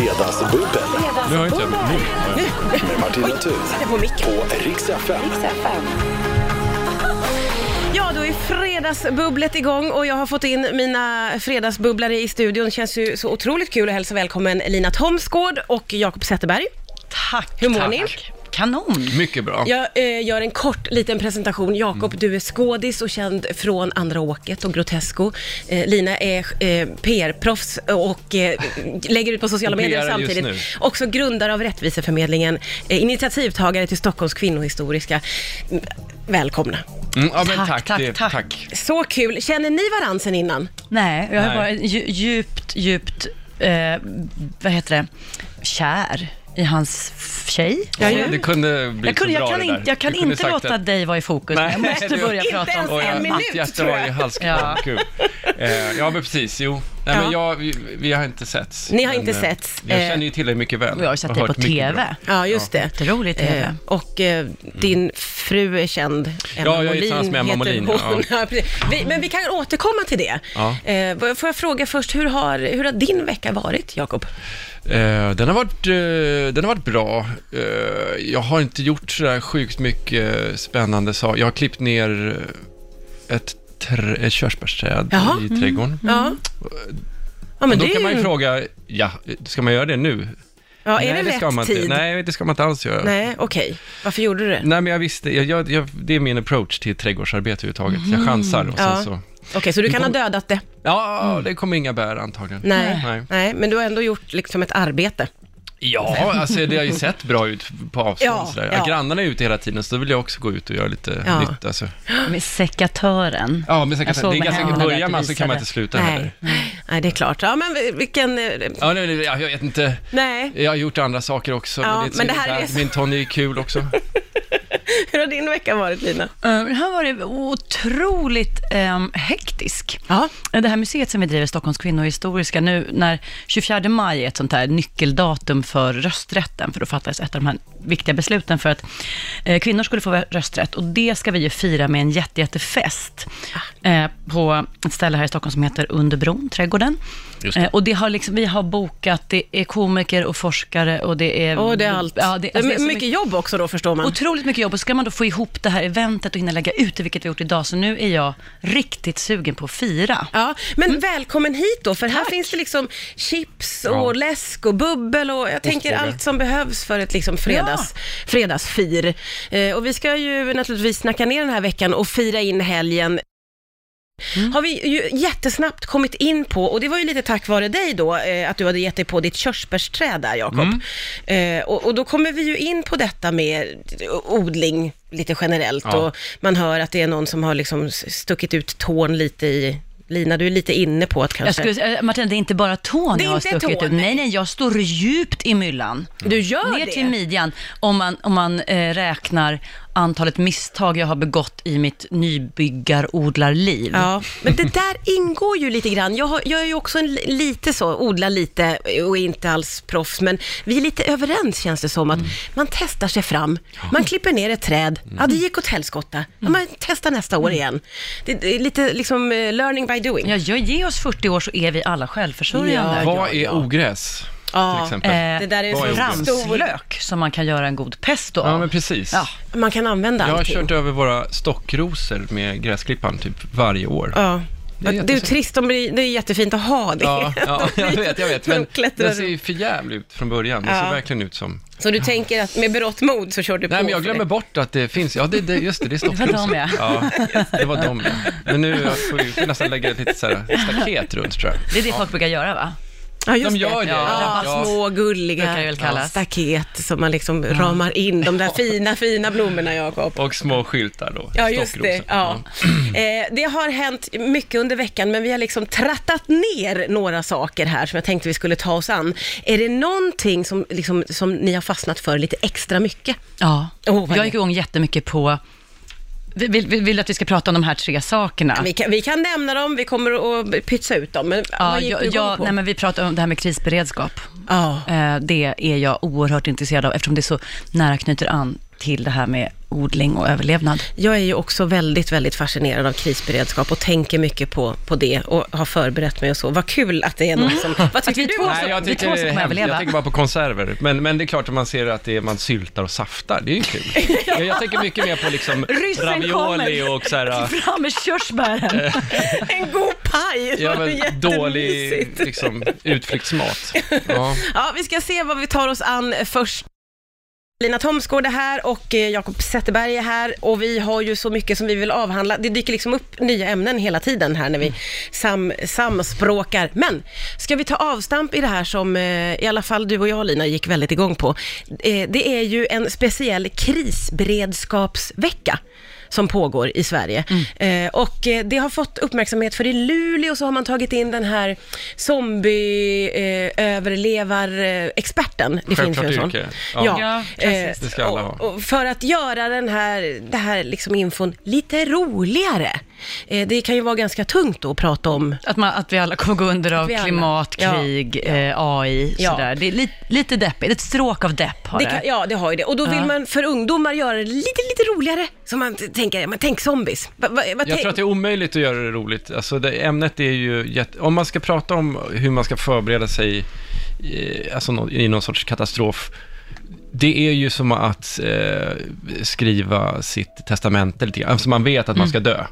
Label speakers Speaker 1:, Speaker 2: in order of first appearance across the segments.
Speaker 1: Fredagsbubbel
Speaker 2: Nu har jag inte jag min mun.
Speaker 1: med Martina Thun
Speaker 3: på micken.
Speaker 1: på Rix FM.
Speaker 3: Ja, då är fredagsbubblet igång och jag har fått in mina fredagsbubblare i studion. Det känns ju så otroligt kul att hälsa välkommen Lina Thomsgård och Jakob Zetterberg.
Speaker 4: Tack,
Speaker 3: Hur mår
Speaker 4: tack.
Speaker 3: ni?
Speaker 4: Kanon.
Speaker 2: Mycket bra.
Speaker 3: Jag eh, gör en kort liten presentation. Jakob, du är skådis och känd från Andra åket och Grotesco. Eh, Lina är eh, PR-proffs och eh, lägger ut på sociala
Speaker 2: Och
Speaker 3: medier
Speaker 2: PR just
Speaker 3: samtidigt.
Speaker 2: nu.
Speaker 3: Också grundare av Rättviseförmedlingen, eh, initiativtagare till Stockholms kvinnohistoriska. Mm, Välkomna.
Speaker 2: Mm, ja, men tack,
Speaker 4: Tack,
Speaker 2: tack,
Speaker 4: tack,
Speaker 2: det, tack.
Speaker 4: tack.
Speaker 3: Så kul. Känner ni varann sen innan?
Speaker 4: Nej, jag har
Speaker 2: Nej.
Speaker 4: varit dju- djupt, djupt, eh, vad heter det, kär i hans f- tjej.
Speaker 3: Ja, ju.
Speaker 2: Det kunde bli
Speaker 4: Jag, kunde,
Speaker 2: så bra
Speaker 4: jag kan,
Speaker 2: det där.
Speaker 4: inte, jag kan
Speaker 2: Du kunde
Speaker 4: inte
Speaker 2: sagt
Speaker 4: låta
Speaker 2: att-
Speaker 4: dig vara i fokus,
Speaker 2: Nej,
Speaker 4: men jag måste
Speaker 2: det-
Speaker 4: börja
Speaker 2: Inte
Speaker 4: prata om
Speaker 3: ens en
Speaker 2: Oj,
Speaker 3: minut,
Speaker 2: mitt hjärta
Speaker 3: tror jag.
Speaker 2: var i halsgropen.
Speaker 4: Ja.
Speaker 2: Gud. Eh, ja, men precis. Jo. Nej,
Speaker 3: Ja.
Speaker 2: men jag, vi, vi har inte setts.
Speaker 3: Ni har
Speaker 2: men,
Speaker 3: inte
Speaker 2: eh,
Speaker 3: setts.
Speaker 2: Jag
Speaker 3: Eh,
Speaker 2: känner ju till dig mycket väl.
Speaker 4: Och jag har sett
Speaker 2: och
Speaker 4: dig på
Speaker 2: hört mycket bra.
Speaker 4: TV.
Speaker 3: Ja, just det.
Speaker 4: Jätterolig TV.
Speaker 3: Eh, och eh, din fru är känd. Emma
Speaker 2: jag är tillsammans med Emma
Speaker 3: heter
Speaker 2: Molin, ja.
Speaker 3: hon. Ja. precis. vi, men vi kan återkomma till det.
Speaker 2: Ja.
Speaker 3: Eh, får jag- får jag fråga först, hur har, hur har din vecka varit, Jakob?
Speaker 2: Eh, den, har varit, eh, den har varit bra. Eh, jag har inte gjort sådär sjukt mycket eh, spännande saker. Jag har klippt ner eh, ett, tr- ett körsbärsträd
Speaker 3: Jaha.
Speaker 2: i trädgården.
Speaker 3: Ja. ja, men
Speaker 2: Och då
Speaker 3: det
Speaker 2: kan
Speaker 3: är
Speaker 2: man ju
Speaker 3: ju...
Speaker 2: fråga, ja, ska man göra det nu?
Speaker 3: Ja, är
Speaker 2: Nej,
Speaker 3: det,
Speaker 2: ska
Speaker 3: rätt
Speaker 2: man
Speaker 3: tid?
Speaker 2: Inte. Nej, det ska man inte alls göra. Nej.
Speaker 3: Nej, okej. Varför gjorde du det?
Speaker 2: men jag visste, jag, jag, jag, det är min approach till trädgårdsarbete överhuvudtaget. Jag chansar och sen
Speaker 3: Ja.
Speaker 2: så...
Speaker 3: Okej, så du kan ha dödat det?
Speaker 2: Ja, det kommer inga bär antagligen.
Speaker 3: Nej. Nej.
Speaker 2: Mm. Nej.
Speaker 3: men du har ändå gjort liksom ett arbete.
Speaker 2: Ja, alltså det har ju sett bra ut på avstånd.
Speaker 3: Ja,
Speaker 2: sådär.
Speaker 3: ja.
Speaker 2: Grannarna är ute hela tiden, så då vill jag också gå ut och göra lite
Speaker 3: Ja.
Speaker 2: nytt. Alltså.
Speaker 4: Med sekatören.
Speaker 2: Ja, men
Speaker 4: Jag
Speaker 2: säkert,
Speaker 4: såg
Speaker 2: det är
Speaker 4: med
Speaker 2: ganska,
Speaker 4: händerna där
Speaker 2: börjar
Speaker 4: att
Speaker 2: man
Speaker 4: du
Speaker 2: så kan man
Speaker 4: visade.
Speaker 2: inte sluta heller.
Speaker 3: Nej. Nej, det är klart. Ja, men vi- vilken... eh,
Speaker 2: Ja, nej, nej, jag vet inte.
Speaker 3: Nej,
Speaker 2: Jag har gjort andra saker också.
Speaker 3: Ja,
Speaker 2: men det, är
Speaker 3: men
Speaker 2: så
Speaker 3: det här är så-
Speaker 2: Min Tony är kul också.
Speaker 3: hur har din vecka varit, Lina?
Speaker 4: Eh, Den här var det otroligt ehm, hektisk.
Speaker 3: Ja.
Speaker 4: Det här museet som vi driver, Stockholms kvinnohistoriska, nu när 24 maj är ett sånt här nyckeldatum för rösträtten, för då fattades ett av de här viktiga besluten för att eh, kvinnor skulle få rösträtt. Och det ska vi ju fira med en jätte, jättefest eh, på ett ställe här i Stockholm som heter Under bron, trädgården.
Speaker 2: Just det.
Speaker 4: Eh, och det har liksom, vi har bokat, det är komiker och forskare och det är...
Speaker 3: Och det är allt.
Speaker 4: Ja, det, alltså, det är
Speaker 3: mycket,
Speaker 4: så
Speaker 3: jobb också då, förstår man.
Speaker 4: Otroligt mycket jobb och ska man då få ihop det här eventet och hinna lägga ut det, vilket vi har gjort idag, så nu är jag riktigt sugen på att fira.
Speaker 3: Ja, men
Speaker 4: Mm.
Speaker 3: välkommen hit då, för här finns det liksom chips och
Speaker 2: Ja.
Speaker 3: läsk och bubbel och jag tänker allt som behövs för ett liksom fredags, fredagsfir. Eh, och vi ska ju naturligtvis snacka ner den här veckan och fira in helgen. Har vi ju jättesnabbt kommit in på, och det var ju lite tack vare dig då, eh, att du hade gett dig på ditt körsbärsträd där Jakob. Eh, och, och då kommer vi ju in på detta med odling lite generellt
Speaker 2: Ja.
Speaker 3: och man hör att det är någon som har liksom stuckit ut tån lite i Lina, du är lite inne på att kanske...
Speaker 4: Jag skulle, säga- eh, Martin, det är inte bara tån
Speaker 3: Det är
Speaker 4: jag har
Speaker 3: inte
Speaker 4: stuckit
Speaker 3: tån,
Speaker 4: ut. Nej, nej, jag står djupt i myllan.
Speaker 3: Du gör
Speaker 4: Ner
Speaker 3: det?
Speaker 4: till midjan, om man, om man eh, räknar antalet misstag jag har begått i mitt nybyggarodlarliv.
Speaker 3: Ja, men det där ingår ju lite grann. Jag, har, jag är ju också en, li- lite så, odlar lite och är inte alls proffs, men vi är lite överens känns det som att
Speaker 2: Mm.
Speaker 3: man testar sig fram. Man klipper ner ett träd, ja det gick åt helskotta,
Speaker 2: Mm.
Speaker 3: ja, man testar nästa år igen. Det, det är lite liksom eh, learning by doing.
Speaker 4: Ja, jag ger oss 40 år så är vi alla självförsörjande.
Speaker 3: Ja.
Speaker 2: Vad är ogräs?
Speaker 3: Ja,
Speaker 2: Till exempel.
Speaker 4: Eh,
Speaker 3: Det där är
Speaker 2: Vad
Speaker 3: så
Speaker 2: är ogräs?
Speaker 3: stor...
Speaker 4: Ramslök som man kan göra en god pesto av.
Speaker 2: Ja, men precis.
Speaker 4: Ja.
Speaker 3: Man kan använda
Speaker 2: Jag har
Speaker 3: allting.
Speaker 2: kört över våra stockrosor med gräsklippan typ varje år.
Speaker 3: Ja.
Speaker 2: Det är
Speaker 3: Det är ju
Speaker 2: jättesnyggt.
Speaker 3: trist, de blir, det är jättefint att ha det.
Speaker 2: Ja, ja,
Speaker 3: De
Speaker 2: jag
Speaker 3: blir-
Speaker 2: vet, jag vet.
Speaker 3: de
Speaker 2: Men
Speaker 3: klättrar
Speaker 2: den ser ju förjävlig ut från början. Den
Speaker 3: Ja.
Speaker 2: ser verkligen ut som...
Speaker 3: Så du tänker att med berått mod så kör du på
Speaker 2: Nej, men jag
Speaker 3: för det.
Speaker 2: glömmer bort att det finns... Ja, det, det, just det, det är
Speaker 4: var de,
Speaker 2: Stockholm.
Speaker 4: ja.
Speaker 2: ja. Det var de, ja. Men nu får vi får vi nästan lägga ett litet så här staket runt, tror jag.
Speaker 4: Det är det folk brukar göra, va?
Speaker 3: Ja, just
Speaker 2: De gör det.
Speaker 3: Ja,
Speaker 2: Ja.
Speaker 3: Små
Speaker 4: Det kan det
Speaker 3: gulliga
Speaker 4: väl kallas.
Speaker 3: staket som man liksom ramar in de där fina, fina blommorna, Jakob.
Speaker 2: Och små skyltar då.
Speaker 3: Ja, just det.
Speaker 2: stockrosor.
Speaker 3: Ja. Eh, det har hänt mycket under veckan, men vi har liksom trattat ner några saker här som jag tänkte vi skulle ta oss an. Är det någonting som, liksom, som ni har fastnat för lite extra mycket?
Speaker 4: Ja,
Speaker 3: Oh, vad
Speaker 4: jag
Speaker 3: är
Speaker 4: gick igång jättemycket på... Vill, vill, vill du att vi ska prata om de här tre sakerna?
Speaker 3: Vi kan, vi kan nämna dem, vi kommer att pytsa ut dem, men
Speaker 4: Ja,
Speaker 3: vad gick du
Speaker 4: jag,
Speaker 3: igång
Speaker 4: jag,
Speaker 3: på?
Speaker 4: nej, men vi pratade om det här med krisberedskap.
Speaker 3: Ja.
Speaker 4: Eh, Det är jag oerhört intresserad av eftersom det är så nära knyter an till det här med odling och överlevnad.
Speaker 3: Jag är ju också väldigt, väldigt fascinerad av krisberedskap och tänker mycket på, på det och har förberett mig och så. Vad kul att det är någon som... Vad tycker
Speaker 4: vi
Speaker 3: du?
Speaker 4: två
Speaker 3: Åsa?
Speaker 2: Nej, jag
Speaker 4: Alltså, Det är
Speaker 2: tycker
Speaker 4: två
Speaker 2: det
Speaker 4: som
Speaker 2: är
Speaker 4: kommer
Speaker 2: hemskt.
Speaker 4: överleva.
Speaker 2: Jag tänker bara på konserver. Men, men det är klart att man ser att det är, man syltar och saftar, det är ju kul. Jag, jag tänker mycket mer på liksom
Speaker 4: Ryssen
Speaker 2: ravioli
Speaker 4: kommer.
Speaker 2: och så här,
Speaker 4: Fram med
Speaker 2: Eh.
Speaker 4: körsbären!
Speaker 3: En god paj!
Speaker 2: ja,
Speaker 3: Det var
Speaker 2: men, dålig
Speaker 3: jättemysigt.
Speaker 2: liksom, utflyktsmat. Ja.
Speaker 3: Ja, vi ska se vad vi tar oss an först. Lina Thomsgård är här och eh, Jakob Zetterberg är här och vi har ju så mycket som vi vill avhandla. Det dyker liksom upp nya ämnen hela tiden här när vi sam, samspråkar. Men ska vi ta avstamp i det här som eh, i alla fall du och jag Lina gick väldigt igång på. Eh, Det är ju en speciell krisberedskapsvecka som pågår i Sverige. Eh, och eh, det har fått uppmärksamhet för i Luleå så har man tagit in den här zombieöverlevarexperten. Eh, överlevarexperten. det finns ju en
Speaker 2: Självklart
Speaker 3: sån.
Speaker 2: yrke.
Speaker 3: Ja,
Speaker 2: Ja.
Speaker 4: Ja,
Speaker 3: eh,
Speaker 2: Det ska alla ha.
Speaker 3: och, och för att göra den här, det här liksom infon lite roligare. Eh, det kan ju vara ganska tungt då att prata om
Speaker 4: Att, man, att vi alla kommer gå under av
Speaker 3: vi alla-
Speaker 4: klimat,
Speaker 3: ja.
Speaker 4: krig, eh, AI,
Speaker 3: Ja.
Speaker 4: sådär. Det är lite, lite deppigt, ett stråk av depp har
Speaker 3: det
Speaker 4: det.
Speaker 3: kan, ja, det har ju det. Och då vill
Speaker 4: Ja.
Speaker 3: man för ungdomar göra det lite, lite roligare. Så man t- tänker, ja, men tänk zombies. Va, va, vad
Speaker 2: Jag
Speaker 3: tänk-
Speaker 2: tror att det är omöjligt att göra det roligt. Alltså det, ämnet är ju jätte... Om man ska prata om hur man ska förbereda sig i, alltså nå- i någon sorts katastrof, det är ju som att eh, skriva sitt testamente lite grann. Alltså man vet
Speaker 4: Mm.
Speaker 2: att man ska dö.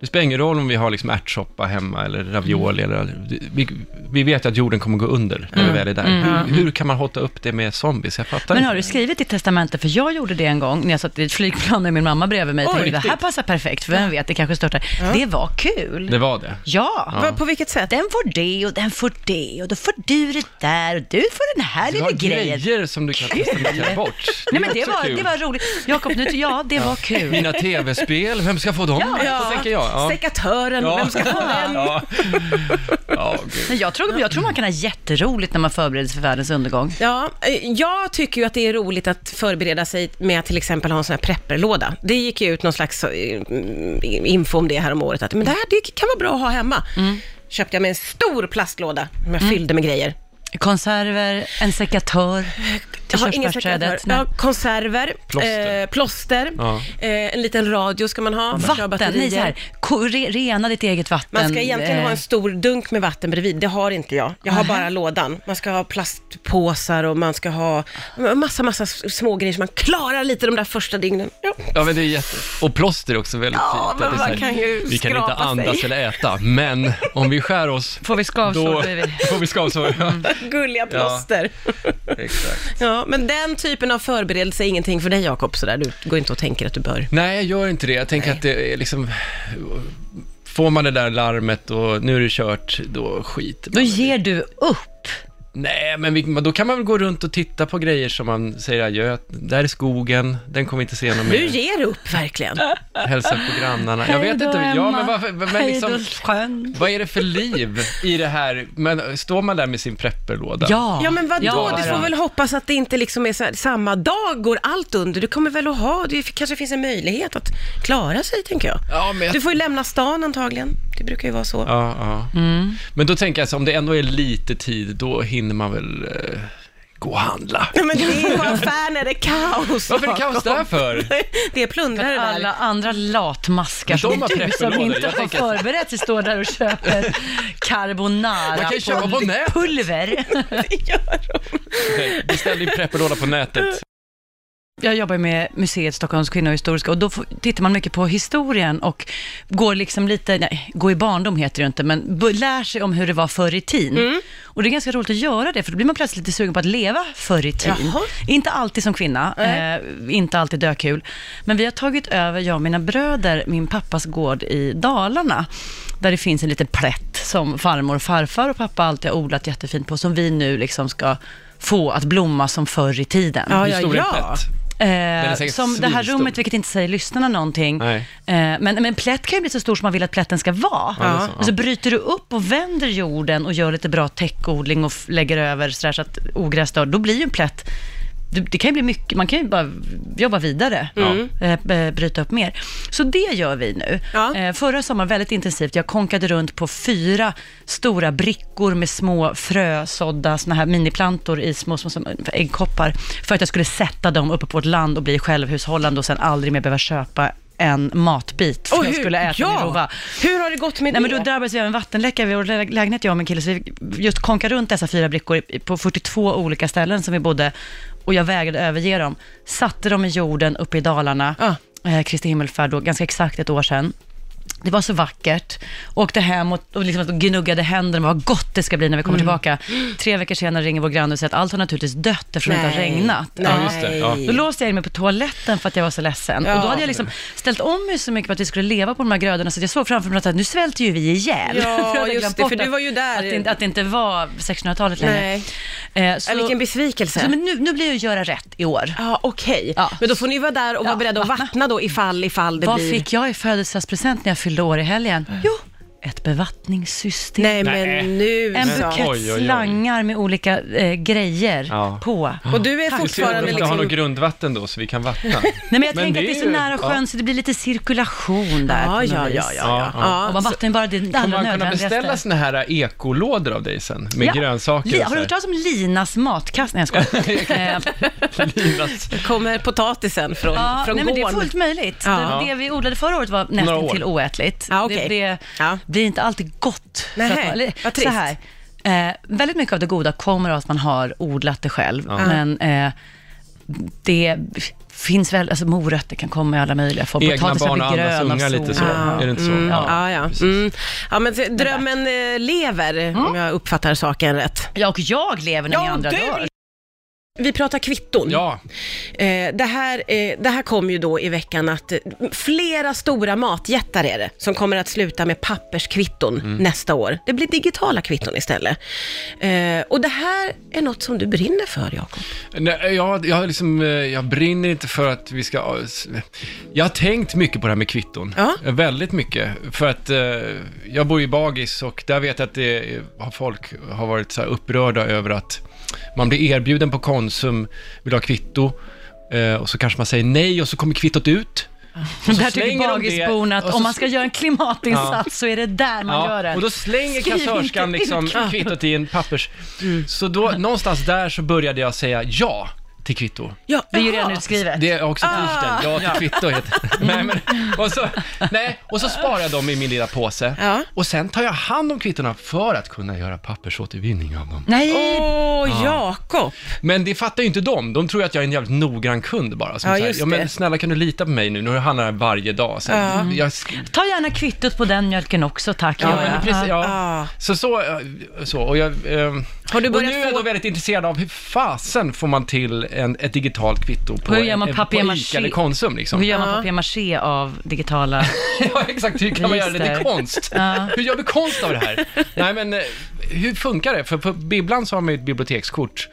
Speaker 2: Det spelar ingen roll om vi har liksom ärtsoppa hemma eller ravioli.
Speaker 4: Mm.
Speaker 2: Eller, vi, vi vet ju att jorden kommer gå under när vi väl är där. Hur, hur kan man hotta upp det med zombies? Jag fattar
Speaker 4: Mm. Men
Speaker 2: inte.
Speaker 4: har du skrivit ditt testamente? För jag gjorde det en gång när jag satt i ett flygplan med min mamma bredvid mig.
Speaker 2: Oj,
Speaker 4: och tänkte, det
Speaker 2: riktigt?
Speaker 4: här passar perfekt, för vem vet, det kanske störtar. Det var kul.
Speaker 2: Det var det.
Speaker 4: Ja.
Speaker 3: va, på vilket sätt?
Speaker 4: Den får det och den får det och då får du det där och du får den här
Speaker 2: Du
Speaker 4: lilla
Speaker 2: har
Speaker 4: grejen.
Speaker 2: grejer som du kan testamentera bort.
Speaker 4: Nej men det
Speaker 2: också
Speaker 4: var,
Speaker 2: kul.
Speaker 4: det var roligt. Jakob, nu, ja det var kul.
Speaker 2: Mina tv-spel, vem ska få dem? Så tänker jag. Ja.
Speaker 3: Sekatören,
Speaker 2: Ja.
Speaker 3: vem ska få den?
Speaker 2: Ja. Ja, gud.
Speaker 4: Men jag, tror, jag tror man kan ha jätteroligt när man förbereder sig för världens undergång.
Speaker 3: Ja, eh, jag tycker ju att det är roligt att förbereda sig med att till exempel ha en sån här prepperlåda. Det gick ju ut någon slags eh, mm, info om det här om året, att men det här det kan vara bra att ha hemma.
Speaker 4: Mm.
Speaker 3: Köpte jag mig en stor plastlåda som jag fyllde med grejer.
Speaker 4: Konserver, en sekatör till
Speaker 3: Jag har ingen sekretär.
Speaker 4: körsbärsträdet.
Speaker 3: Jag har
Speaker 4: Nej.
Speaker 3: konserver,
Speaker 2: Plåster.
Speaker 3: eh, plåster
Speaker 2: Ja.
Speaker 3: eh, en liten radio ska man ha. för att köra
Speaker 4: Vatten, nej så här, ko- re, rena ditt eget vatten.
Speaker 3: Man ska egentligen ha
Speaker 4: Eh,
Speaker 3: en stor dunk med vatten bredvid. Det har inte jag. Jag har bara lådan. Man ska ha plastpåsar och man ska ha massa, massa s- små grejer som man klarar lite de där första dygnen. Ja.
Speaker 2: Ja, men det är jätte... Och plåster är också väldigt
Speaker 3: Ja,
Speaker 2: fint.
Speaker 3: men
Speaker 2: Att det är
Speaker 3: man
Speaker 2: så här,
Speaker 3: kan ju
Speaker 2: vi kan
Speaker 3: skrapa
Speaker 2: inte andas
Speaker 3: sig.
Speaker 2: eller äta, men om vi skär oss,
Speaker 4: Eh, Får vi skavsår?
Speaker 2: då
Speaker 4: då är vi-
Speaker 2: får vi skavsår.
Speaker 3: Mm.
Speaker 2: Ja,
Speaker 3: Gulliga plåster. Ja.
Speaker 2: exakt.
Speaker 3: men den typen av förberedelse är ingenting för dig Jakob, sådär. Du går inte och tänker att du bör.
Speaker 2: Nej, jag gör inte det. Jag tänker att det är liksom... Får man det där larmet och nu är det kört, då skiter
Speaker 4: Då
Speaker 2: man.
Speaker 4: ger du upp.
Speaker 2: Nej, men vi, då kan man väl gå runt och titta på grejer som man säger adjö. Där är skogen, den kommer vi inte se någon mer.
Speaker 3: Du ger upp verkligen.
Speaker 2: Hälsa på grannarna. Jag vet
Speaker 4: Hej då,
Speaker 2: inte. Ja,
Speaker 4: Emma.
Speaker 2: men varför, men
Speaker 4: Hej
Speaker 2: liksom,
Speaker 4: då, sjön.
Speaker 2: vad är det för liv i det här? Men står man där med sin prepperlåda?
Speaker 4: Ja,
Speaker 3: Ja men vadå,
Speaker 4: Ja,
Speaker 3: du får
Speaker 4: ja.
Speaker 3: väl hoppas att det inte liksom är så här, samma dag går allt under. Du kommer väl att ha, det kanske finns en möjlighet att klara sig tänker jag.
Speaker 2: Ja, men jag...
Speaker 3: Du får ju lämna stan antagligen. Det brukar ju vara så.
Speaker 2: Ja, ja.
Speaker 4: Mm.
Speaker 2: Men då tänker jag så om det ändå är lite tid, då hinner man väl eh, gå och handla.
Speaker 3: Nej, men det är ju på affären är det kaos.
Speaker 2: Varför är det kaos
Speaker 3: Jakob.
Speaker 2: där för?
Speaker 3: Det är plundrare där. liksom.
Speaker 4: Alla andra latmaskar
Speaker 2: De
Speaker 4: som
Speaker 2: har
Speaker 4: du som
Speaker 2: prepperlådor.
Speaker 4: inte
Speaker 2: Jag
Speaker 4: har
Speaker 2: tänker-
Speaker 4: förberett sig står där och köper carbonara
Speaker 2: Man kan ju köpa på
Speaker 4: pul-
Speaker 2: nätet.
Speaker 4: pulver.
Speaker 2: Nej, Beställ din prepperlåda på nätet.
Speaker 4: Jag jobbar med museet Stockholms kvinnohistoriska och då får, tittar man mycket på historien och går liksom lite, nej, gå i barndom heter det inte, men b- lär sig om hur det var förr i tiden.
Speaker 3: Mm.
Speaker 4: Och det är ganska roligt att göra det, för då blir man plötsligt lite sugen på att leva förr i tiden.
Speaker 3: Jaha.
Speaker 4: Inte alltid som kvinna, eh, inte alltid dökul. Men vi har tagit över, jag och mina bröder, min pappas gård i Dalarna, där det finns en liten plätt som farmor och farfar och pappa alltid har odlat jättefint på, som vi nu liksom ska få att blomma som förr i tiden.
Speaker 3: Ja, ja,
Speaker 2: Historien
Speaker 3: ja.
Speaker 2: plätt. är
Speaker 4: Eh,
Speaker 2: säkert
Speaker 4: som det här
Speaker 2: svinstor.
Speaker 4: rummet, vilket inte säger lyssnarna någonting. Eh,
Speaker 2: Nej.
Speaker 4: men, men plätt kan ju bli så stor som man vill att plätten ska vara.
Speaker 2: det är så,
Speaker 4: Och så bryter du upp och vänder jorden och gör lite bra täckodling och f- lägger över sådär så att ogräs dör. Då blir ju en plätt det, det kan ju bli mycket, man kan ju bara jobba vidare,
Speaker 2: Mm.
Speaker 4: eh, b- bryta upp mer. Så det gör vi nu.
Speaker 3: Ja.
Speaker 4: Eh, Förra sommaren väldigt intensivt, jag konkade runt på fyra stora brickor med små frösådda såna här miniplantor i små, små, små äggkoppar, för att jag skulle sätta dem uppe på ett land och bli självhushållande och sen aldrig mer behöva köpa en matbit för
Speaker 3: Och
Speaker 4: jag
Speaker 3: hur-
Speaker 4: skulle äta
Speaker 3: ja.
Speaker 4: min rova.
Speaker 3: Hur har det gått med
Speaker 4: Nej, men
Speaker 3: det?
Speaker 4: då drabbades vi av en vattenläcka vid vår lä- lägenhet, jag och min kille, så vi just konkade runt dessa fyra brickor i- på 42 olika ställen som vi bodde och jag vägrade överge dem. Satte dem i jorden uppe i Dalarna,
Speaker 3: Ah.
Speaker 4: eh, Kristi himmelfärd då, ganska exakt ett år sedan. Det var så vackert. Åkte hem och, och liksom gnuggade händerna, vad gott det ska bli när vi kommer
Speaker 3: Mm.
Speaker 4: tillbaka. Tre veckor senare ringer vår granne och säger att allt har naturligtvis dött eftersom det inte har regnat.
Speaker 3: Nej.
Speaker 2: Ja, just det. Ja.
Speaker 4: Då låste jag in mig på toaletten för att jag var så ledsen.
Speaker 3: Ja.
Speaker 4: Och då hade jag liksom ställt om mig så mycket på att vi skulle leva på de här grödorna så att jag såg framför mig att nu svälter ju vi ihjäl.
Speaker 3: Ja,
Speaker 4: För jag hade
Speaker 3: just
Speaker 4: glömt
Speaker 3: det,
Speaker 4: bort
Speaker 3: för du
Speaker 4: att-
Speaker 3: var ju där.
Speaker 4: Att det, inte- att det inte var 1600-talet längre.
Speaker 3: Nej.
Speaker 4: Eh, så,
Speaker 3: Alltså, Ja, vilken besvikelse.
Speaker 4: så, men nu, nu blir jag att göra rätt i år.
Speaker 3: Ja, okej.
Speaker 4: Ja.
Speaker 3: Men då får ni vara där och vara
Speaker 4: Ja,
Speaker 3: beredda att
Speaker 4: vattna.
Speaker 3: vattna då ifall, ifall det
Speaker 4: Vad
Speaker 3: blir... Eh.
Speaker 4: fick jag i födelsedagspresent när jag fyllde år i helgen? Jo, ett bevattningssystem.
Speaker 3: Nej, men
Speaker 2: Nej.
Speaker 3: nu
Speaker 4: En
Speaker 3: så.
Speaker 4: bukett
Speaker 2: Oj, oj, oj.
Speaker 4: slangar med olika eh, grejer
Speaker 2: Ja.
Speaker 4: på.
Speaker 3: Och du är
Speaker 2: Vi ser om
Speaker 3: fortfarande
Speaker 2: vi inte har
Speaker 3: liksom...
Speaker 2: något grundvatten då, så vi kan vattna.
Speaker 4: Nej, men jag tänker
Speaker 2: det
Speaker 4: att det är så
Speaker 2: ju-
Speaker 4: nära sjön
Speaker 2: Ja.
Speaker 4: så det blir lite cirkulation där. på
Speaker 3: Ja,
Speaker 4: något
Speaker 3: ja, ja,
Speaker 4: vis.
Speaker 3: ja, ja.
Speaker 2: Ja,
Speaker 4: Och
Speaker 3: ja.
Speaker 4: man vattnar ju bara det allra
Speaker 2: Kommer man kunna
Speaker 4: nödvändigaste.
Speaker 2: beställa såna här eh, ekolådor av dig sen? Med
Speaker 4: Ja.
Speaker 2: grönsaker
Speaker 4: Li-
Speaker 2: och
Speaker 4: Har du hört talas om Linas matkast? Nej, jag skojar. Eh,
Speaker 2: Linas-
Speaker 3: Kommer potatisen från,
Speaker 4: Ja,
Speaker 3: från
Speaker 4: nej, men
Speaker 3: gården?
Speaker 4: det är fullt möjligt.
Speaker 3: Ja.
Speaker 4: Det, det vi odlade förra året var
Speaker 2: Några
Speaker 4: nästan
Speaker 2: år.
Speaker 4: till oätligt.
Speaker 3: Ja, okej.
Speaker 4: Det, det
Speaker 3: Ja.
Speaker 4: blir inte alltid gott.
Speaker 3: Nähä,
Speaker 4: att man- eller,
Speaker 3: vad
Speaker 4: så
Speaker 3: trist.
Speaker 4: här, eh, väldigt mycket av det goda kommer av att man har odlat det själv, men eh, det finns väl, alltså morötter kan komma i alla möjliga former.
Speaker 2: Egna barn och andras ungar lite så.
Speaker 3: Ja.
Speaker 2: Är det inte så?
Speaker 4: Mm,
Speaker 2: Ja.
Speaker 3: Ja, ja. Mm. ja men se- drömmen eh, lever,
Speaker 2: Mm.
Speaker 3: om jag uppfattar saken rätt.
Speaker 4: Ja, och jag lever när ni andra
Speaker 3: du-
Speaker 4: dör.
Speaker 3: Vi pratar kvitton.
Speaker 2: Ja,
Speaker 3: Eh, det, här, eh, det här kom ju då i veckan att eh, flera stora matjättar är det som kommer att sluta med papperskvitton
Speaker 4: Mm.
Speaker 3: nästa år. Det blir digitala kvitton istället. Eh, och det här är något som du brinner för, Jakob.
Speaker 2: Nej, jag, jag, har liksom, eh, jag brinner inte för att vi ska... ja, s- Jag har tänkt mycket på det här med kvitton.
Speaker 3: Ja.
Speaker 2: Eh, Väldigt mycket. För att eh, jag bor i Bagis och där vet jag att det, har folk har varit så här upprörda över att man blir erbjuden på Konsum, vill ha kvitto eh, och så kanske man säger nej och så kommer kvittot ut. Och så
Speaker 4: Ah. Där tycker
Speaker 2: slänger de det,
Speaker 4: bagisborna
Speaker 2: och
Speaker 4: att
Speaker 2: så
Speaker 4: om man ska göra en klimatinsats
Speaker 2: Ja.
Speaker 4: så är det där man gör den.
Speaker 2: Och då slänger
Speaker 4: Skriv inte
Speaker 2: kassörskan
Speaker 4: ut
Speaker 2: liksom
Speaker 4: kvittot. Mm.
Speaker 2: kvittot i en pappers... Så då, någonstans där så började jag säga ja till kvitto.
Speaker 3: Ja,
Speaker 4: Det är ju
Speaker 3: jaha.
Speaker 4: redan utskrivet.
Speaker 2: Det är också t-shirten, ja till kvitto heter det. nej, men, och, så, nej, och så sparar jag dem i min lilla påse.
Speaker 3: Ja.
Speaker 2: Och sen tar jag hand om kvittona för att kunna göra pappersåtervinning av dem.
Speaker 4: Nej,
Speaker 3: Åh, Jakob!
Speaker 2: Men det fattar ju inte de. De tror ju att jag är en jävligt noggrann kund bara. Som
Speaker 3: Ja,
Speaker 2: säger,
Speaker 3: just
Speaker 2: ja, men
Speaker 3: det.
Speaker 2: snälla kan du lita på mig nu? Nu handlar jag varje dag. Sen, jag,
Speaker 4: Ta gärna kvittot på den mjölken också, tack.
Speaker 2: ja,
Speaker 4: gör
Speaker 2: men
Speaker 4: jag.
Speaker 2: precis, ja.
Speaker 3: Ah.
Speaker 2: Så, så, eh, så. Och, jag, ehm,
Speaker 3: Har du
Speaker 2: och
Speaker 3: börjat
Speaker 2: nu är jag
Speaker 3: få-
Speaker 2: då väldigt intresserad av hur fasen får man till en, ett digitalt kvitto på,
Speaker 4: Hur gör man
Speaker 2: en- på
Speaker 4: papier-mâché?
Speaker 2: Ica eller Konsum liksom.
Speaker 4: Hur gör man papier-maché av digitala...
Speaker 2: Ja, exakt. Hur kan man göra det till
Speaker 4: Register.
Speaker 2: konst?
Speaker 4: Ja.
Speaker 2: Hur gör vi konst av det här? Nej, men eh, hur funkar det? För på Bibblan så har man ju ett bibliotekskort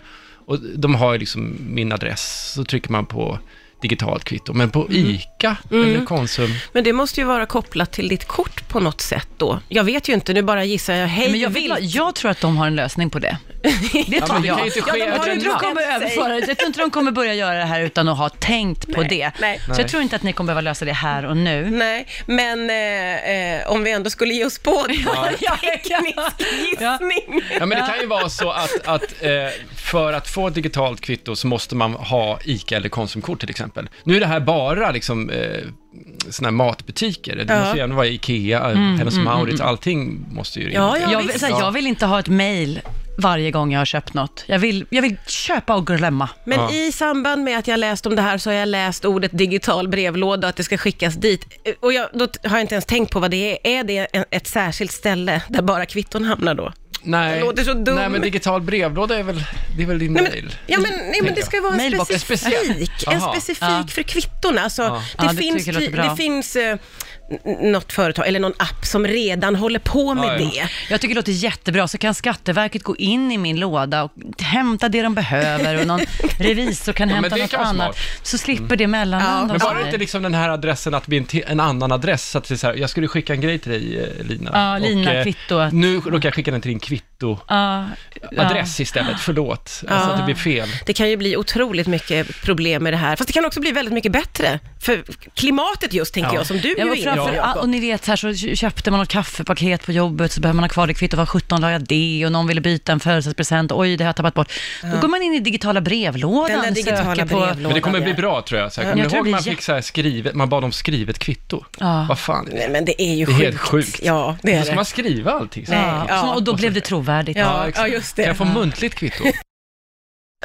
Speaker 2: och de har ju liksom min adress, så trycker man på digitalt kvitto. Men på
Speaker 4: Mm.
Speaker 2: ICA eller Konsum,
Speaker 3: Men det måste ju vara kopplat till ditt kort på något sätt då. Jag vet ju inte, nu bara gissar jag. Hej
Speaker 4: Men jag,
Speaker 3: vilt.
Speaker 4: vill, jag tror att de har en lösning på det. Det
Speaker 2: men
Speaker 4: tror
Speaker 2: det kan ju
Speaker 4: jag.
Speaker 2: inte
Speaker 4: Ja,
Speaker 2: ske
Speaker 4: de har
Speaker 2: över
Speaker 4: ju
Speaker 2: en
Speaker 4: inte de
Speaker 2: natt.
Speaker 4: kommer överföra det. Jag tror inte de kommer börja göra det här utan att ha tänkt på det.
Speaker 3: nej.
Speaker 4: Så jag tror inte att ni kommer behöva lösa det här och nu.
Speaker 3: Nej, men eh, eh, om vi ändå skulle ge oss på det.
Speaker 4: Ja.
Speaker 3: Teknisk gissning.
Speaker 2: Ja, men det kan ju vara så att, att eh, för att få ett digitalt kvitto så måste man ha ICA eller Konsumkort till exempel. Nu är det här bara liksom, eh, såna här matbutiker. Det måste ju även vara IKEA,
Speaker 4: Mm,
Speaker 2: Hennes & Mauritz, allting måste ju
Speaker 3: Ja, ja,
Speaker 4: Jag
Speaker 3: visst.
Speaker 4: vill, så här, Alltså, jag vill inte ha ett mail varje gång jag har köpt något. Jag vill, jag vill köpa och glömma.
Speaker 3: Men
Speaker 2: Ja.
Speaker 3: i samband med att jag läst om det här så har jag läst ordet digital brevlåda, att det ska skickas dit. Och jag, då t- har jag inte ens tänkt på vad det är. Är det en- ett särskilt ställe där bara kvitton hamnar då?
Speaker 2: Nej.
Speaker 3: Det låter så dum.
Speaker 2: Nej, men digital brevlåda är väl, det är väl din
Speaker 3: Nej, men,
Speaker 2: mail?
Speaker 3: ja, men, nej, men det ska vara en
Speaker 4: Mailbox.
Speaker 3: specifik, en
Speaker 2: Jaha.
Speaker 3: specifik
Speaker 4: Ja.
Speaker 3: för kvitton. Alltså, det,
Speaker 4: Ja, det
Speaker 3: finns,
Speaker 4: tycker jag låter
Speaker 3: ty- det
Speaker 4: bra.
Speaker 3: finns eh, n- något företag eller någon app som redan håller på med
Speaker 2: Ja, ja.
Speaker 3: det.
Speaker 4: Jag tycker det låter jättebra, så kan Skatteverket gå in i min låda och hämta det de behöver och någon revisor kan
Speaker 2: Ja, men
Speaker 4: hämta
Speaker 2: det
Speaker 4: något
Speaker 2: kan vara
Speaker 4: annat. Så slipper
Speaker 3: Mm.
Speaker 4: det mellanhand
Speaker 2: Men
Speaker 4: också.
Speaker 2: var det inte liksom den här adressen att bli en, ti- en annan adress? Så att det är så här, jag skulle skicka en grej till dig, eh, Lina.
Speaker 4: Ja, Lina,
Speaker 2: eh,
Speaker 4: kvitto att-
Speaker 2: Nu råkar jag skicka den till din kvitto. nettoadress
Speaker 4: Ja, ja.
Speaker 2: istället. Förlåt, alltså
Speaker 3: Ja.
Speaker 2: att det blir fel.
Speaker 3: Det kan ju bli otroligt mycket problem med det här. Fast det kan också bli väldigt mycket bättre. För klimatet just, tänker
Speaker 2: Ja.
Speaker 3: jag, som du
Speaker 4: Ja,
Speaker 3: ju är
Speaker 4: men
Speaker 3: inne på,
Speaker 4: framför, ja,
Speaker 3: Jakob.
Speaker 4: och ni vet, så, här, så köpte man något kaffepaket på jobbet, så behöver man ha kvar det kvittot. Vad 17 la jag det? Och någon ville byta en födelsedagspresent. Oj, det har jag tappat bort. Då går man in i digitala brevlådan.
Speaker 3: Den där digitala
Speaker 4: söker på,
Speaker 3: brevlådan.
Speaker 2: Men det kommer bli bra tror jag. Så här,
Speaker 4: Ja.
Speaker 2: Kommer
Speaker 4: Jag
Speaker 2: ni
Speaker 4: tror
Speaker 2: ihåg
Speaker 4: det Ah.
Speaker 2: man
Speaker 4: blir
Speaker 2: fick så här skrivet, man bad om skrivet kvitto?
Speaker 4: Ja.
Speaker 2: Vad fan är det?
Speaker 3: Nej, men det är ju
Speaker 2: Det är
Speaker 3: sjukt.
Speaker 2: helt sjukt.
Speaker 3: Ja, det är
Speaker 2: Då ska man
Speaker 3: det.
Speaker 2: skriva allting.
Speaker 3: Nej.
Speaker 4: Ja,
Speaker 3: Ja.
Speaker 4: så- Och då blev det trovärdigt.
Speaker 3: Ja, ja, just det.
Speaker 2: Kan jag få muntligt kvitto?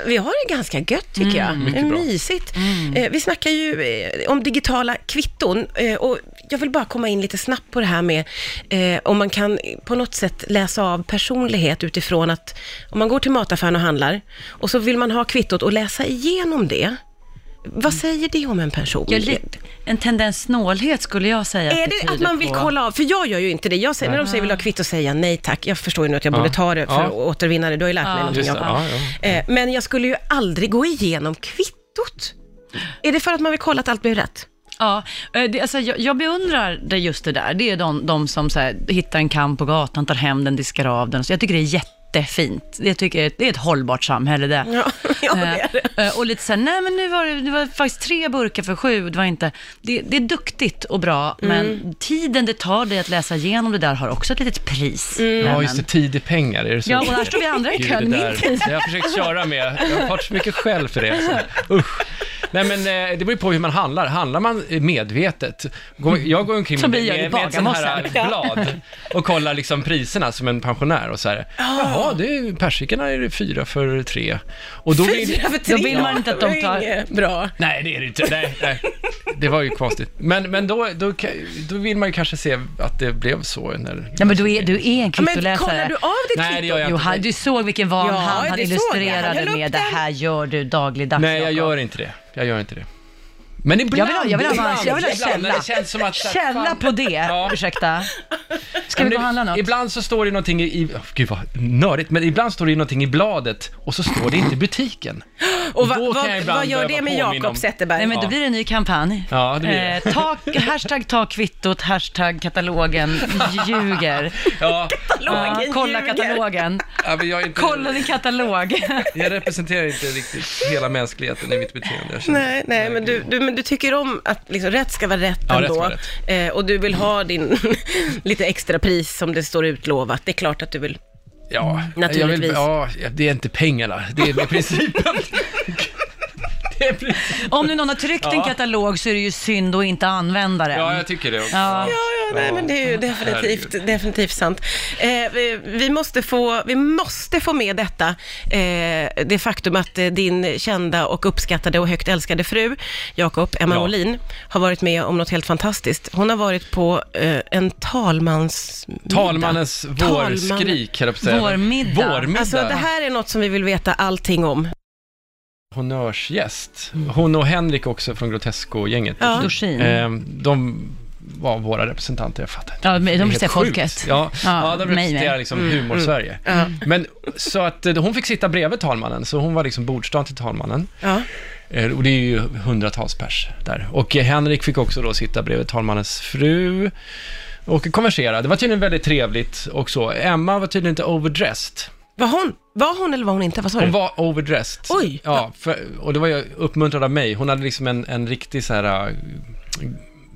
Speaker 3: Vi har det ganska gött tycker jag. Det
Speaker 2: Mm, mycket
Speaker 3: är
Speaker 2: bra.
Speaker 3: mysigt. Eh, vi snackar ju eh, om digitala kvitton eh, och jag vill bara komma in lite snabbt på det här med eh, om man kan eh, på något sätt läsa av personlighet utifrån att om man går till mataffären och handlar och så vill man ha kvittot och läsa igenom det. Vad säger det om en person?
Speaker 4: Ja, lite- en tendens snålhet skulle jag säga.
Speaker 3: Är det att
Speaker 4: tyder
Speaker 3: man vill
Speaker 4: på.
Speaker 3: kolla av? För jag gör ju inte det. Jag säger, när de säger vill du ha kvitto, säger jag nej tack. Jag förstår ju nu att jag
Speaker 2: Ja.
Speaker 3: borde ta det för
Speaker 2: Ja.
Speaker 3: att återvinna det. Du har ju lärt mig någonting
Speaker 2: Just det,
Speaker 3: Jakob.
Speaker 2: ja,
Speaker 3: Eh, Men jag skulle ju aldrig gå igenom kvittot. Är det för att man vill kolla att allt blev rätt?
Speaker 4: Ja, eh, det, alltså, jag, jag beundrar det just det där. Det är de, de som så här, hittar en kam på gatan, tar hem den, diskar av den. Så jag tycker det är jättefint. Jag tycker det är ett hållbart samhälle det.
Speaker 3: Ja, ja, det är det.
Speaker 4: Eh, eh, Och lite så här, nej men nu var det, det var faktiskt tre burkar för sju, det var inte... Det, det är duktigt och bra,
Speaker 3: Mm.
Speaker 4: men tiden det tar dig att läsa igenom det där har också ett litet pris.
Speaker 2: Ja,
Speaker 3: Mm.
Speaker 4: Nämen.
Speaker 2: just det. Tid är pengar. Är det så?
Speaker 4: Ja, och här står vi andra i
Speaker 2: Gud,
Speaker 4: kön,
Speaker 2: det
Speaker 4: min
Speaker 2: där.
Speaker 4: tid.
Speaker 2: Jag har försökt köra med. Jag har fått så mycket skäll för det. Så. Usch. Nej, men eh, det beror ju på hur man handlar. Handlar man eh, medvetet? Går- Jag går omkring
Speaker 4: Som vi
Speaker 2: med,
Speaker 4: gör i
Speaker 2: med, med ett sånt här eh,
Speaker 4: Bagarmossen.
Speaker 2: blad och kollar liksom priserna som en pensionär och så här.
Speaker 4: Ah.
Speaker 2: Jaha, det är, ju- persikorna är det fyra för tre. Och då vill-
Speaker 3: Fyra för tre.
Speaker 4: då vill man inte att de
Speaker 3: Det är
Speaker 4: tar-
Speaker 3: inget Bra.
Speaker 2: Nej, det är det inte. Nej, nej. Det var ju konstigt. Men, men då, då, kan- då vill man ju kanske se att det blev så. När...
Speaker 4: Nej, men du är, du är en
Speaker 3: Ja, Men kollar
Speaker 4: kvittoläsare.
Speaker 3: du av ditt
Speaker 2: Nej, det
Speaker 3: kvitto?
Speaker 2: gör jag
Speaker 4: Jo,
Speaker 2: inte.
Speaker 4: han, du såg vilken van
Speaker 3: Ja,
Speaker 4: han,
Speaker 3: det såg
Speaker 4: han
Speaker 3: jag. Han
Speaker 4: illustrerade
Speaker 3: höll upp
Speaker 4: med. Det
Speaker 3: den.
Speaker 4: här gör du dagligdags.
Speaker 2: Nej, jag
Speaker 4: Jakob."
Speaker 2: gör inte det. Jag gör inte det. Men ibland,
Speaker 4: Jag vill ha- jag vill ha-
Speaker 2: ibland,
Speaker 4: jag vill ha
Speaker 2: ibland
Speaker 4: källa.
Speaker 2: när det känns som att...
Speaker 4: Källa
Speaker 2: fan-
Speaker 4: på det.
Speaker 2: Ja.
Speaker 4: Ursäkta. Ska
Speaker 2: Men det-
Speaker 4: vi gå och handla något?
Speaker 2: Ibland så står det någonting i- i... Oh, gud vad nördigt, men ibland står det någonting i bladet och så står det inte i butiken.
Speaker 3: Och vad,
Speaker 2: Då kan jag
Speaker 3: vad,
Speaker 2: ibland
Speaker 3: vad gör det
Speaker 2: behöva
Speaker 3: med
Speaker 2: påminna
Speaker 3: Jakob
Speaker 2: om-
Speaker 3: Zetterberg?
Speaker 4: Nej, men då blir det en ny kampanj.
Speaker 2: Ja, det blir det.
Speaker 4: Eh, ta, hashtag ta kvittot, hashtag katalogen ljuger.
Speaker 2: Ja,
Speaker 4: Ja,
Speaker 3: Katalogen
Speaker 4: kolla
Speaker 3: ljuger.
Speaker 4: katalogen.
Speaker 2: ja, men jag, är inte,
Speaker 4: Kolla din katalog.
Speaker 2: jag representerar inte riktigt hela mänskligheten i mitt beteende. Jag känner-
Speaker 3: Nej, nej men, du, du, men du tycker om att liksom, rätt ska vara rätt
Speaker 2: Ja, rätt
Speaker 3: ändå.
Speaker 2: ska vara
Speaker 3: Eh, och du vill ha din lite extra pris som det står utlovat. Det är klart att du vill.
Speaker 2: Ja, jag vill,
Speaker 3: Naturligtvis.
Speaker 2: ja, det är inte pengarna, det är med principen. det är principen.
Speaker 4: Om nu någon har tryckt en katalog så är det ju synd att inte använda den.
Speaker 2: Ja, jag tycker det också.
Speaker 4: Ja.
Speaker 3: Ja, ja, nej, men det är ju definitivt,
Speaker 2: herregud.
Speaker 3: definitivt sant. Eh, vi, vi, måste få, vi måste få med detta, eh, det faktum att eh, din kända och uppskattade och högt älskade fru, Jakob Emma
Speaker 2: Ja.
Speaker 3: Molin, har varit med om något helt fantastiskt. Hon har varit på eh, en talmans...
Speaker 2: Talmannens vårskrik, höll jag på att säga.
Speaker 4: Vårmiddag.
Speaker 2: Vårmiddag.
Speaker 3: Alltså det här är något som vi vill veta allting om.
Speaker 2: Honnörsgäst. Hon och Henrik också från Grotesco-gänget.
Speaker 3: Ja.
Speaker 4: Dorsin.
Speaker 2: Eh, de var våra representanter, jag fattar inte.
Speaker 4: Ja, men de
Speaker 2: Det är helt
Speaker 4: representerar
Speaker 2: sjukt.
Speaker 4: folket.
Speaker 2: Ja,
Speaker 4: Ja,
Speaker 2: ja, de
Speaker 4: mig
Speaker 2: representerar
Speaker 4: med. Mm,
Speaker 2: liksom humor-Sverige. Men så att eh, hon fick sitta bredvid talmannen, så hon var liksom bordsdan till talmannen.
Speaker 3: Ja.
Speaker 2: Eh, Och det är ju hundratals pers där. Och eh, Henrik fick också då sitta bredvid talmannens fru och konversera. Det var tydligen väldigt trevligt och så. Emma var tydligen inte overdressed.
Speaker 3: Var hon, var hon eller var hon inte? Vad sa
Speaker 2: Hon
Speaker 3: du?
Speaker 2: var overdressed.
Speaker 3: Oj!
Speaker 2: Ja, för, och det var ju uppmuntrad av mig. Hon hade liksom en, en riktig så här äh,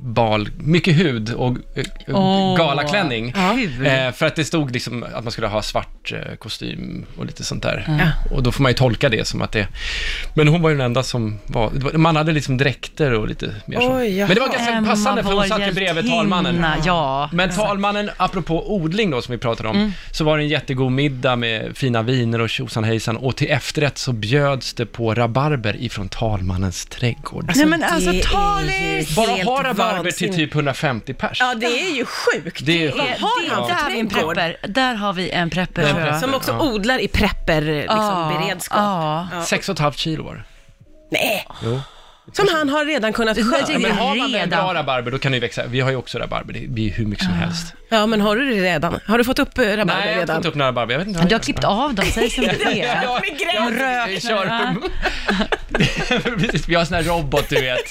Speaker 2: bal, mycket hud och äh,
Speaker 4: Åh,
Speaker 2: galaklänning.
Speaker 4: kul.
Speaker 2: Eh, för att det stod liksom att man skulle ha svart eh, kostym och lite sånt där. Och då får man ju tolka det som att det... Men hon var ju den enda som var... det var- Man hade liksom dräkter och lite mer så.
Speaker 3: Oj, jaha.
Speaker 2: Men det var ganska
Speaker 4: Emma,
Speaker 2: passande för
Speaker 4: vår
Speaker 2: hon satt ju bredvid
Speaker 4: hjältinna.
Speaker 2: talmannen.
Speaker 4: Ja.
Speaker 2: Men talmannen, apropå odling då som vi pratade om,
Speaker 3: Mm.
Speaker 2: så var det en jättegod middag med fina viner och tjosan hejsan och till efterrätt så bjöds det på rabarber ifrån talmannens trädgård.
Speaker 4: Nej, men alltså,
Speaker 3: Det
Speaker 4: ta
Speaker 3: är
Speaker 4: det
Speaker 3: ju
Speaker 2: Bara
Speaker 3: helt
Speaker 2: ha rabarber till
Speaker 3: vansinnigt.
Speaker 2: typ 150 pers.
Speaker 3: Ja, det är ju sjukt.
Speaker 2: Det är
Speaker 4: Det,
Speaker 2: sjukt.
Speaker 3: Har han för
Speaker 4: det, där, har vi en
Speaker 3: trädgård?
Speaker 4: prepper. där har vi en prepper, tror jag.
Speaker 3: Som också odlar i prepper, liksom,
Speaker 4: Ja,
Speaker 3: beredskap.
Speaker 4: ja.
Speaker 2: Sex och ett halvt kilo var det.
Speaker 3: Nej,
Speaker 2: Jo.
Speaker 3: som han har redan kunnat
Speaker 4: tänkte-
Speaker 3: skörda.
Speaker 2: Men har man en
Speaker 4: Redan.
Speaker 2: bra rabarber, då kan det ju växa. Vi har ju också rabarber, det blir ju hur mycket som helst.
Speaker 3: Ah. Ja, men har du det redan? Har du fått upp eh, rabarber
Speaker 2: Nej, jag har
Speaker 3: redan?
Speaker 2: inte upp några rabarber. Jag vet inte
Speaker 4: Du har klippt av dem, säg som det är.
Speaker 2: Ja,
Speaker 3: Med
Speaker 2: jag,
Speaker 3: gräs.
Speaker 2: jag, jag kör Precis, vi har en sån här robot, du vet,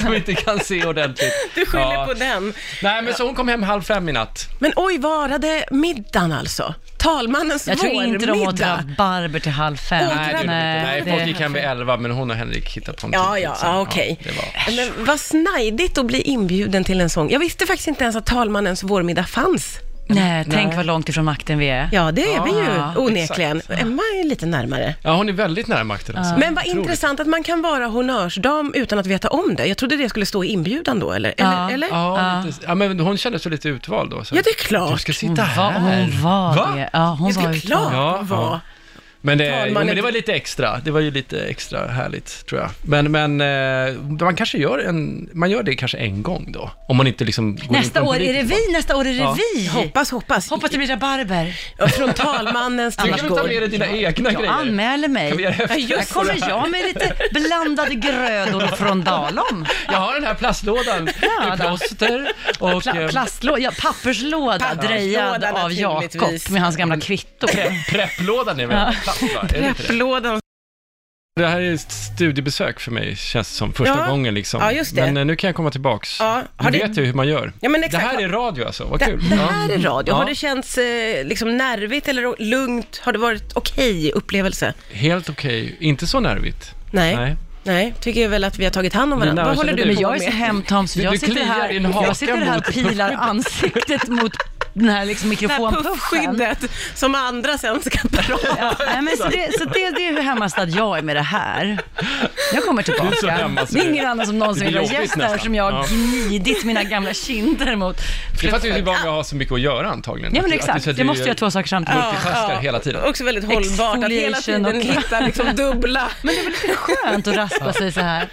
Speaker 2: som inte kan se ordentligt.
Speaker 3: Du skyller
Speaker 2: Ja.
Speaker 3: på den.
Speaker 2: Nej, men så hon kom hem halv fem i natt.
Speaker 3: Men oj, varade middagen alltså? Talmannens
Speaker 4: Jag tror inte de åt
Speaker 3: vårmiddag.
Speaker 4: rabarber till halv fem.
Speaker 3: Åh,
Speaker 2: Nej, det gjorde de inte. Nej, folk gick hem vid elva, men hon och Henrik hittade på en
Speaker 3: Ja,
Speaker 2: till
Speaker 3: ja,
Speaker 2: pizza.
Speaker 3: ja okej.
Speaker 2: det var-
Speaker 3: Men vad snajdigt att bli inbjuden till en sån. Jag visste faktiskt inte ens att talmannens vårmiddag fanns.
Speaker 4: Nej, tänk
Speaker 2: Nej.
Speaker 4: vad långt ifrån makten vi är.
Speaker 3: Ja, det är vi
Speaker 4: Ja,
Speaker 3: ju onekligen. Emma är ju lite närmare.
Speaker 2: Ja, hon är väldigt nära makten alltså.
Speaker 3: Men vad
Speaker 2: Otroligt.
Speaker 3: intressant att man kan vara honnörsdam utan att veta om det. Jag trodde det skulle stå i inbjudan då, eller? eller,
Speaker 4: Ja.
Speaker 3: eller?
Speaker 2: Ja, lite, ja, men hon kände sig lite utvald då. Så.
Speaker 3: Ja, det är klart.
Speaker 2: Du ska sitta
Speaker 4: Va,
Speaker 2: här.
Speaker 4: hon var
Speaker 2: Va?
Speaker 4: det. Ja, hon
Speaker 3: Det
Speaker 4: var
Speaker 3: skulle
Speaker 4: ju
Speaker 3: klart
Speaker 2: Ja,
Speaker 3: ja, vara.
Speaker 2: ja. Men det, jo,
Speaker 3: Talmannen-
Speaker 2: men det var lite extra. Det var ju lite extra härligt, tror jag. Men, men eh, man kanske gör en... Man gör det kanske en gång då. Om man inte liksom går in på
Speaker 4: Nästa
Speaker 2: en
Speaker 4: år är
Speaker 2: politisk
Speaker 4: revy, nästa år är
Speaker 2: Ja.
Speaker 4: revy.
Speaker 3: Hoppas, hoppas.
Speaker 4: Hoppas det blir rabarber.
Speaker 3: Ja, Från talmannens
Speaker 2: Du kan väl ta
Speaker 3: trädgård.
Speaker 2: med dig dina egna
Speaker 4: Jag
Speaker 2: grejer?
Speaker 4: anmäler mig.
Speaker 2: Kan vi göra
Speaker 4: Ja,
Speaker 2: efterrätt
Speaker 4: just
Speaker 2: på det
Speaker 4: kommer
Speaker 2: här?
Speaker 4: jag med lite blandade grödor från Dalom.
Speaker 2: Jag har den här plastlådan
Speaker 4: Ja,
Speaker 2: med
Speaker 4: då.
Speaker 2: plåster och...
Speaker 4: Pla-
Speaker 2: eh,
Speaker 4: plastlåda, ja, papperslåda
Speaker 3: Papperslåda
Speaker 4: drejad av Jakob
Speaker 3: naturligtvis.
Speaker 4: med hans gamla kvitto.
Speaker 2: pre- Prepplådan är väl plast, va? Är det inte det?
Speaker 3: Prepplådan.
Speaker 2: Det här är ett studiebesök för mig, känns det som. Första
Speaker 3: Ja.
Speaker 2: gången liksom.
Speaker 3: Ja, just det.
Speaker 2: Men eh, nu kan jag komma tillbaks.
Speaker 3: Ja, har
Speaker 2: Nu
Speaker 3: det-
Speaker 2: vet jag hur man gör.
Speaker 3: Ja, men
Speaker 2: Det
Speaker 3: exakt.
Speaker 2: här är radio alltså, vad
Speaker 3: det,
Speaker 2: kul.
Speaker 3: det här är radio.
Speaker 2: Ja.
Speaker 3: Har det känts eh, liksom nervigt eller lugnt? Har det varit okej upplevelse?
Speaker 2: Helt okej, inte så nervigt.
Speaker 3: Nej. Nej. tycker jag väl att vi har tagit hand om varandra.
Speaker 2: Mina-
Speaker 3: Vad håller du
Speaker 2: Men
Speaker 3: på
Speaker 4: Men jag är
Speaker 3: med?
Speaker 4: så hemtam så
Speaker 2: Du-
Speaker 4: jag
Speaker 2: du
Speaker 4: sitter
Speaker 2: kliar
Speaker 4: här,
Speaker 2: din haka
Speaker 4: jag sitter här
Speaker 2: mot
Speaker 4: och pilar
Speaker 2: puffskyddet.
Speaker 4: ansiktet mot den här liksom
Speaker 3: Det här
Speaker 4: mikrofonpuffen.
Speaker 3: puffskyddet som andra sen ska prata
Speaker 4: Ja, nej, men så det, så det, det är hur hemmastad jag är med det här. Jag kommer tillbaka.
Speaker 2: Du är så hemmastad.
Speaker 4: det är ingen annan som någonsin
Speaker 2: Det är
Speaker 4: vill ha
Speaker 2: jobbigt
Speaker 4: gäst här
Speaker 2: nästan.
Speaker 4: som jag har
Speaker 2: Ja.
Speaker 4: gnidit mina gamla kinder mot.
Speaker 2: Det är för att du är van vid att ha så mycket att göra antagligen.
Speaker 4: Ja men
Speaker 2: Att- att
Speaker 4: exakt,
Speaker 2: du-
Speaker 4: jag måste göra två saker samtidigt.
Speaker 2: Multitaskar hela tiden.
Speaker 3: Också väldigt hållbart att hela
Speaker 4: Exfoliation
Speaker 3: tiden
Speaker 4: och-
Speaker 3: hitta liksom dubbla. Men det
Speaker 4: Skönt att raspa sig så här.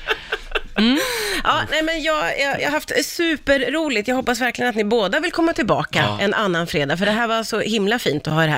Speaker 3: Ja, nej, men jag, jag, jag har haft superroligt. Jag hoppas verkligen att ni båda vill komma tillbaka en annan fredag, för det här var så himla fint att ha det här.